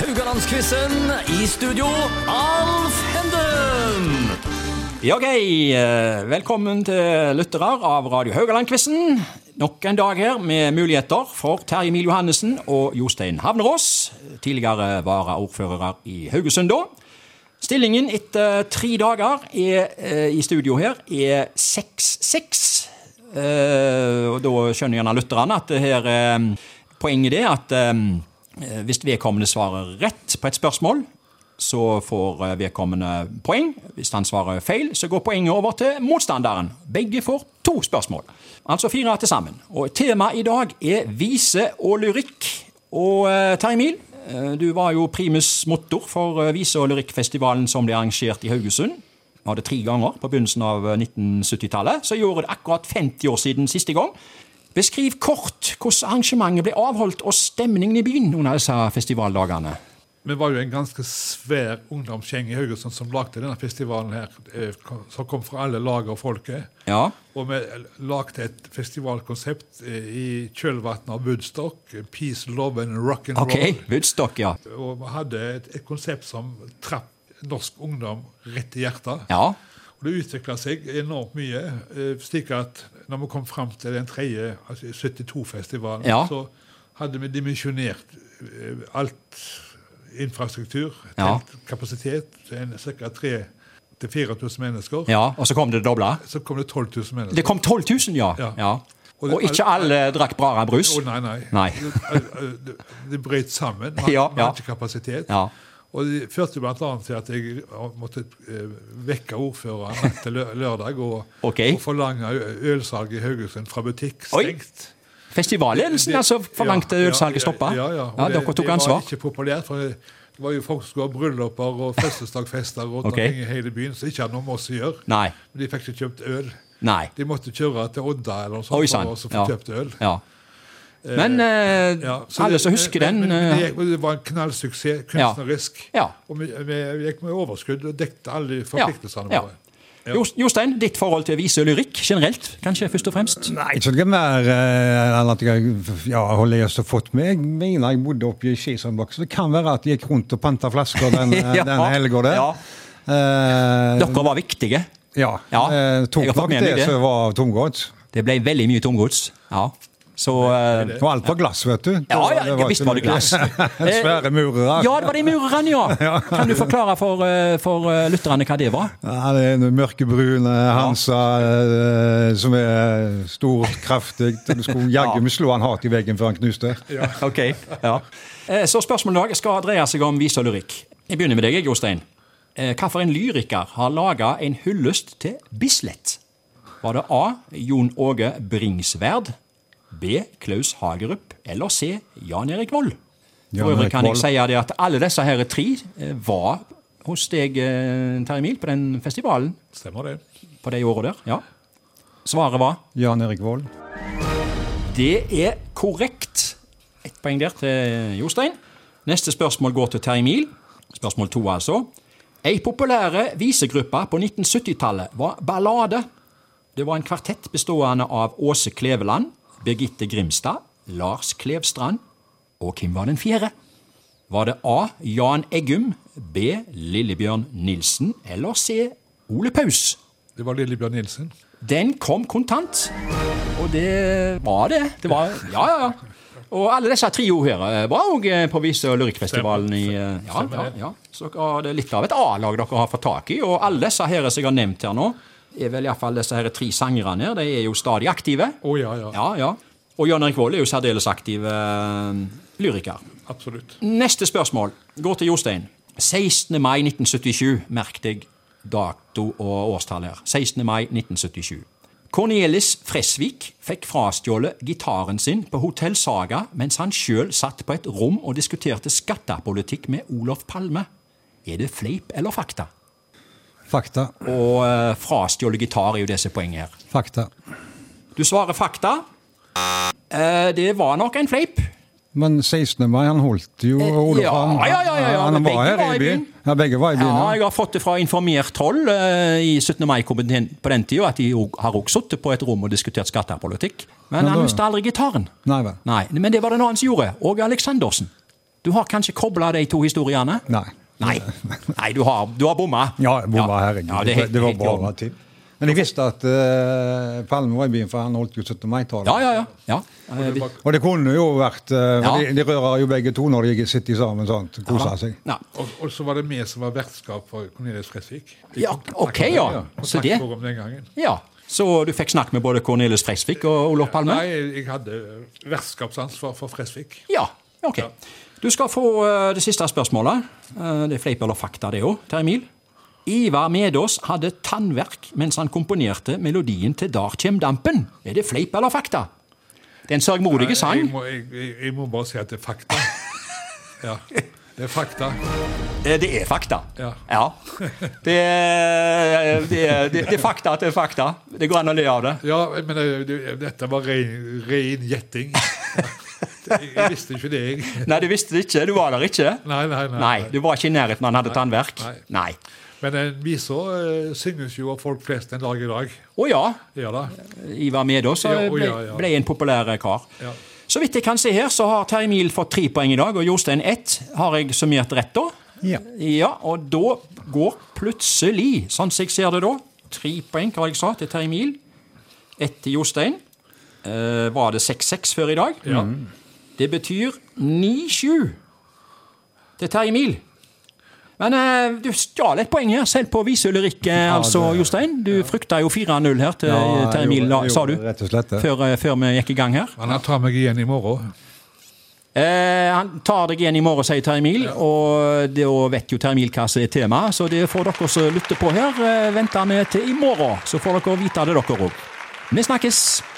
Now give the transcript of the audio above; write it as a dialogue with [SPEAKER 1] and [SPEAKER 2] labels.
[SPEAKER 1] Haugalandsquizen. I studio, Alf Henden.
[SPEAKER 2] Ja, ok. Eh, Velkommen til lyttere av Radio Haugaland-quizen. Nok en dag her med muligheter for Terje Mil Johannessen og Jostein Havnerås. Tidligere varaordførere i Haugesund da. Stillingen etter tre dager er, eh, i studio her er 6-6. Eh, og da skjønner gjerne lytterne at det her eh, Poenget er at eh, hvis vedkommende svarer rett på et spørsmål, så får eh, vedkommende poeng. Hvis han svarer feil, så går poenget over til motstanderen. Begge får to spørsmål. Altså fire til sammen. Og temaet i dag er vise og lyrikk. Og eh, Terje Mil, eh, du var jo primus motor for eh, vise- og lyrikkfestivalen som ble arrangert i Haugesund. Vi hadde tre ganger på begynnelsen av eh, 1970-tallet. Så gjorde det akkurat 50 år siden siste gang. Beskriv kort hvordan arrangementet ble avholdt og stemningen i byen under disse festivaldagene.
[SPEAKER 3] Vi var jo en ganske svær ungdomsgjeng i Haugesund som lagde denne festivalen her, eh, kom- som kom fra alle lag og folket.
[SPEAKER 2] Ja,
[SPEAKER 3] Og vi lagde et festivalkonsept eh, i kjølvannet av Woodstock. eh, Peace, love and rock and
[SPEAKER 2] ok. Woodstock, ja.
[SPEAKER 3] roll. Og vi hadde et, et konsept som trapp norsk ungdom rett i hjertet.
[SPEAKER 2] Ja,
[SPEAKER 3] Og det utvikla seg enormt mye. eh, slik at når vi kom fram til den tredje, altså 72-festivalen,
[SPEAKER 2] Ja.
[SPEAKER 3] så hadde vi dimensjonert eh, alt infrastruktur,
[SPEAKER 2] Ja.
[SPEAKER 3] telt, kapasitet, til ca. 3000-4000 mennesker.
[SPEAKER 2] ja, og så kom det det doble.
[SPEAKER 3] Så kom det 12 000 mennesker.
[SPEAKER 2] Det kom 12 000, ja.
[SPEAKER 3] Ja.
[SPEAKER 2] ja.
[SPEAKER 3] Og det-
[SPEAKER 2] Og ikke alle drakk Brara-brus.
[SPEAKER 3] Å, nei, nei.
[SPEAKER 2] Nei.
[SPEAKER 3] Det- det- Det brøt sammen. Man,
[SPEAKER 2] Ja,
[SPEAKER 3] man
[SPEAKER 2] ja.
[SPEAKER 3] hadde ikke kapasitet.
[SPEAKER 2] Ja.
[SPEAKER 3] Og det førte bl.a. til at jeg måtte eh, vekke ordføreren natt til lø- lørdag og,
[SPEAKER 2] Ok.
[SPEAKER 3] og forlange ø- ølsalg i Haugesund fra butikk
[SPEAKER 2] Oi.
[SPEAKER 3] stengt.
[SPEAKER 2] Festivalledelsen
[SPEAKER 3] Det-
[SPEAKER 2] altså forlangte
[SPEAKER 3] ja, ja,
[SPEAKER 2] ølsalget stoppa.
[SPEAKER 3] Ja, ja. Og
[SPEAKER 2] Ja,
[SPEAKER 3] det-
[SPEAKER 2] dere tok ansvar.
[SPEAKER 3] Det var ikke populært. for det var jo folk som skulle ha brylluper og fødselsdagsfester rundt
[SPEAKER 2] Ok.
[SPEAKER 3] omkring i hele byen, som ikke hadde noe med oss å gjøre.
[SPEAKER 2] Nei.
[SPEAKER 3] Men de fikk ikke kjøpt øl.
[SPEAKER 2] Nei.
[SPEAKER 3] De måtte kjøre til Odda eller noe
[SPEAKER 2] Oi
[SPEAKER 3] sånt
[SPEAKER 2] sann.
[SPEAKER 3] for å få
[SPEAKER 2] Ja.
[SPEAKER 3] kjøpt øl.
[SPEAKER 2] Ja. Men eh,
[SPEAKER 3] Ja, så
[SPEAKER 2] alle
[SPEAKER 3] det-
[SPEAKER 2] som husker den
[SPEAKER 3] men, men
[SPEAKER 2] eh,
[SPEAKER 3] det, gikk- det var en knallsuksess kunstnerisk.
[SPEAKER 2] Ja.
[SPEAKER 3] Og vi, vi gikk med overskudd og dekte alle forpliktelsene
[SPEAKER 2] ja.
[SPEAKER 3] våre.
[SPEAKER 2] Jo- Jostein, ditt forhold til vise og lyrikk generelt, kanskje først og fremst?
[SPEAKER 4] Nei, ikke noe mer eh, enn at jeg ja, har lest og fått med. Jeg mener jeg bodde oppe i Skisandbakk, så det kan være at jeg gikk rundt og panta flasker den, eh,
[SPEAKER 2] Ja.
[SPEAKER 4] den helga der.
[SPEAKER 2] Ja.
[SPEAKER 4] Eh,
[SPEAKER 2] Dere var viktige.
[SPEAKER 4] ja.
[SPEAKER 2] Ja,
[SPEAKER 4] eh, tok
[SPEAKER 2] jeg har fått
[SPEAKER 4] nok
[SPEAKER 2] med meg
[SPEAKER 4] det
[SPEAKER 2] det.
[SPEAKER 4] som var tomgodt.
[SPEAKER 2] Det ble veldig mye tomgods. Ja. Så eh,
[SPEAKER 4] Og alt var glass, vet du.
[SPEAKER 2] Ja, ja,
[SPEAKER 4] Det var
[SPEAKER 2] visst
[SPEAKER 4] ikke
[SPEAKER 2] var det
[SPEAKER 4] noe-
[SPEAKER 2] glass. Eh,
[SPEAKER 4] Svære murere.
[SPEAKER 2] Ja, det var de murerne, ja! Kan du forklare for, eh, for eh, lytterne hva det var?
[SPEAKER 4] Ja, det er en mørkebrun eh, Hansa eh, som er stort, kraftig. og Du skulle jaggu meg slå han hardt i veggen før han knuste.
[SPEAKER 2] Ok, ja. Eh, Så spørsmålet i dag skal dreie seg om vise og lyrikk. Jeg begynner med deg, jeg, Jostein. Eh, Hvilken lyriker har laga en hyllest til Bislett? Var det A. Jon Åge Bringsværd? B. Klaus Hagerup? Eller C. Jan Erik Vold? For
[SPEAKER 4] Jan
[SPEAKER 2] øvrig
[SPEAKER 4] Erik
[SPEAKER 2] kan jeg
[SPEAKER 4] Vold.
[SPEAKER 2] si det at alle disse her tre eh, var hos deg, eh, Terje Mil, på den festivalen
[SPEAKER 3] Stemmer det.
[SPEAKER 2] på de åra der. Ja. Svaret var
[SPEAKER 4] Jan Erik Vold.
[SPEAKER 2] Det er korrekt. Ett poeng der til Jostein. Neste spørsmål går til Terje Mil. Spørsmål to, altså. Ei populære visegruppe på 1970-tallet var Ballade. Det var en kvartett bestående av Åse Kleveland, Birgitte Grimstad, Lars Klevstrand og hvem var den fjerde? Var det A. Jan Eggum, B. Lillebjørn Nilsen eller C. Ole Paus?
[SPEAKER 3] Det var Lillebjørn Nilsen.
[SPEAKER 2] Den kom kontant. Og det var det. det var, ja, ja, ja. Og alle disse trio her eh, var òg på vise- og lyrikkfestivalen i eh, ja, ja, ja. Så dere har- det er litt av et A-lag dere har fått tak i. Og alle disse her som jeg har nevnt her nå, er vel iallfall disse her tre sangerne her. De er jo stadig aktive.
[SPEAKER 3] Å ja, ja,
[SPEAKER 2] Ja, ja. Og Jan Erik Vold er jo særdeles aktiv eh, lyriker.
[SPEAKER 3] Absolutt.
[SPEAKER 2] Neste spørsmål går til Jostein. 16. mai 1977, merk deg dato og årstall her. 16. mai 1977. Cornelis Fresvik fikk frastjålet gitaren sin på Hotell Saga mens han sjøl satt på et rom og diskuterte skattepolitikk med Olof Palme. Er det fleip eller fakta?
[SPEAKER 4] Fakta.
[SPEAKER 2] Og eh, frastjålet gitar er jo disse poenget her.
[SPEAKER 4] Fakta.
[SPEAKER 2] Du svarer fakta. Eh, det var nok en fleip.
[SPEAKER 4] Men 16. mai, han holdt jo Olof
[SPEAKER 2] Eh, ja,
[SPEAKER 4] han-
[SPEAKER 2] ja, ja, ja, ja,
[SPEAKER 4] Han
[SPEAKER 2] men
[SPEAKER 4] var
[SPEAKER 2] begge
[SPEAKER 4] her i byen. Ja, begge var i byen.
[SPEAKER 2] Ja,
[SPEAKER 4] Ja,
[SPEAKER 2] jeg har fått det fra informert hold eh, i 17. mai-komiteen på den tida, at de jo har også sittet på et rom og diskutert skattepolitikk. Men
[SPEAKER 4] Men
[SPEAKER 2] han
[SPEAKER 4] da-
[SPEAKER 2] mista aldri gitaren.
[SPEAKER 4] Nei vel.
[SPEAKER 2] Nei, Men det var det en annen som gjorde. Åge Aleksandersen. Du har kanskje kobla de to historiene?
[SPEAKER 4] Nei.
[SPEAKER 2] Nei, Nei du har, du har bomma.
[SPEAKER 4] Ja, bomma, herregud.
[SPEAKER 2] Ja,
[SPEAKER 4] det,
[SPEAKER 2] det, er helt,
[SPEAKER 4] var
[SPEAKER 2] helt i orden.
[SPEAKER 4] bra til. Men jeg visste at eh, Palme var i byen, for han holdt jo 17. mai-tale.
[SPEAKER 2] Ja, ja, ja. ja. Eh, vi-
[SPEAKER 4] Og det kunne jo vært eh,
[SPEAKER 2] Ja.
[SPEAKER 4] for de, de rører jo begge to når de sitter sammen sånn. Koser seg.
[SPEAKER 2] Ja.
[SPEAKER 3] Og, og så var det vi som var vertskap for Cornelius Fresvik.
[SPEAKER 2] Ja, ok, ja. Så det,
[SPEAKER 3] Kontaktforum den gangen.
[SPEAKER 2] ja. Så du fikk snakk med både Cornelius Freisvik og Olof Palme?
[SPEAKER 3] Nei, jeg hadde vertskapsansvar for Fresvik.
[SPEAKER 2] Ja, ok. Du skal få eh, det siste spørsmålet. Eh, det er fleip eller fakta, det òg, Terje Mil. Ivar Medås hadde tannverk mens han komponerte melodien til Dar kjem dampen. Er det fleip eller fakta? Det er en sørgmodig
[SPEAKER 3] Jeg
[SPEAKER 2] sang.
[SPEAKER 3] må, jeg, jeg, jeg må bare si at det er fakta. Ja, det er fakta.
[SPEAKER 2] Eh, Det er fakta.
[SPEAKER 3] Ja.
[SPEAKER 2] Det, er, eh, det, er, det er fakta at det er fakta. Det går an å le av det.
[SPEAKER 3] Ja, men det- det- dette var ren, ren gjetting. Jeg, jeg visste ikke det, jeg.
[SPEAKER 2] Nei, du visste det ikke. Du var der ikke.
[SPEAKER 3] Nei, nei, nei.
[SPEAKER 2] Nei, Du var ikke i nærheten da han hadde tannverk?
[SPEAKER 3] Nei.
[SPEAKER 2] Nei.
[SPEAKER 3] Men en vise eh, synges jo av folk flest en dag i dag.
[SPEAKER 2] Å ja.
[SPEAKER 3] Ja da.
[SPEAKER 2] Ivar Medås eh,
[SPEAKER 3] Ja, å
[SPEAKER 2] ble,
[SPEAKER 3] ja, ja.
[SPEAKER 2] ble en populær kar.
[SPEAKER 3] Ja.
[SPEAKER 2] Så vidt jeg kan se her, så har Terje Mil fått tre poeng i dag, og Jostein ett. Har jeg summert rett, da?
[SPEAKER 4] Ja.
[SPEAKER 2] ja. Og da går plutselig, sånn som jeg ser det da, tre poeng, hva jeg sa, til Terje Mil. Ett til Jostein. Eh, var det 6-6 før i dag? Mm.
[SPEAKER 3] Ja.
[SPEAKER 2] Det betyr 9-7 til Terje Mil. Men eh, du stjal et poeng her, selv på Vise Ulrik, eh, altså, Jostein. Du frykta jo 4-0 her til
[SPEAKER 4] Ja,
[SPEAKER 2] eh, Terje
[SPEAKER 4] jeg
[SPEAKER 2] Mil,
[SPEAKER 4] gjorde-
[SPEAKER 2] da,
[SPEAKER 4] jeg
[SPEAKER 2] sa du,
[SPEAKER 4] gjorde rett og slett det.
[SPEAKER 2] før, eh, før vi gikk i gang her.
[SPEAKER 3] Men han tar meg igjen i morgen.
[SPEAKER 2] Eh, han tar deg igjen i morgen, sier Terje Mil, og da vet jo Terje Mil hva som er temaet, så det får dere som lytter på her, eh, vente med til i morgen, så får dere vite det, dere òg. Vi snakkes!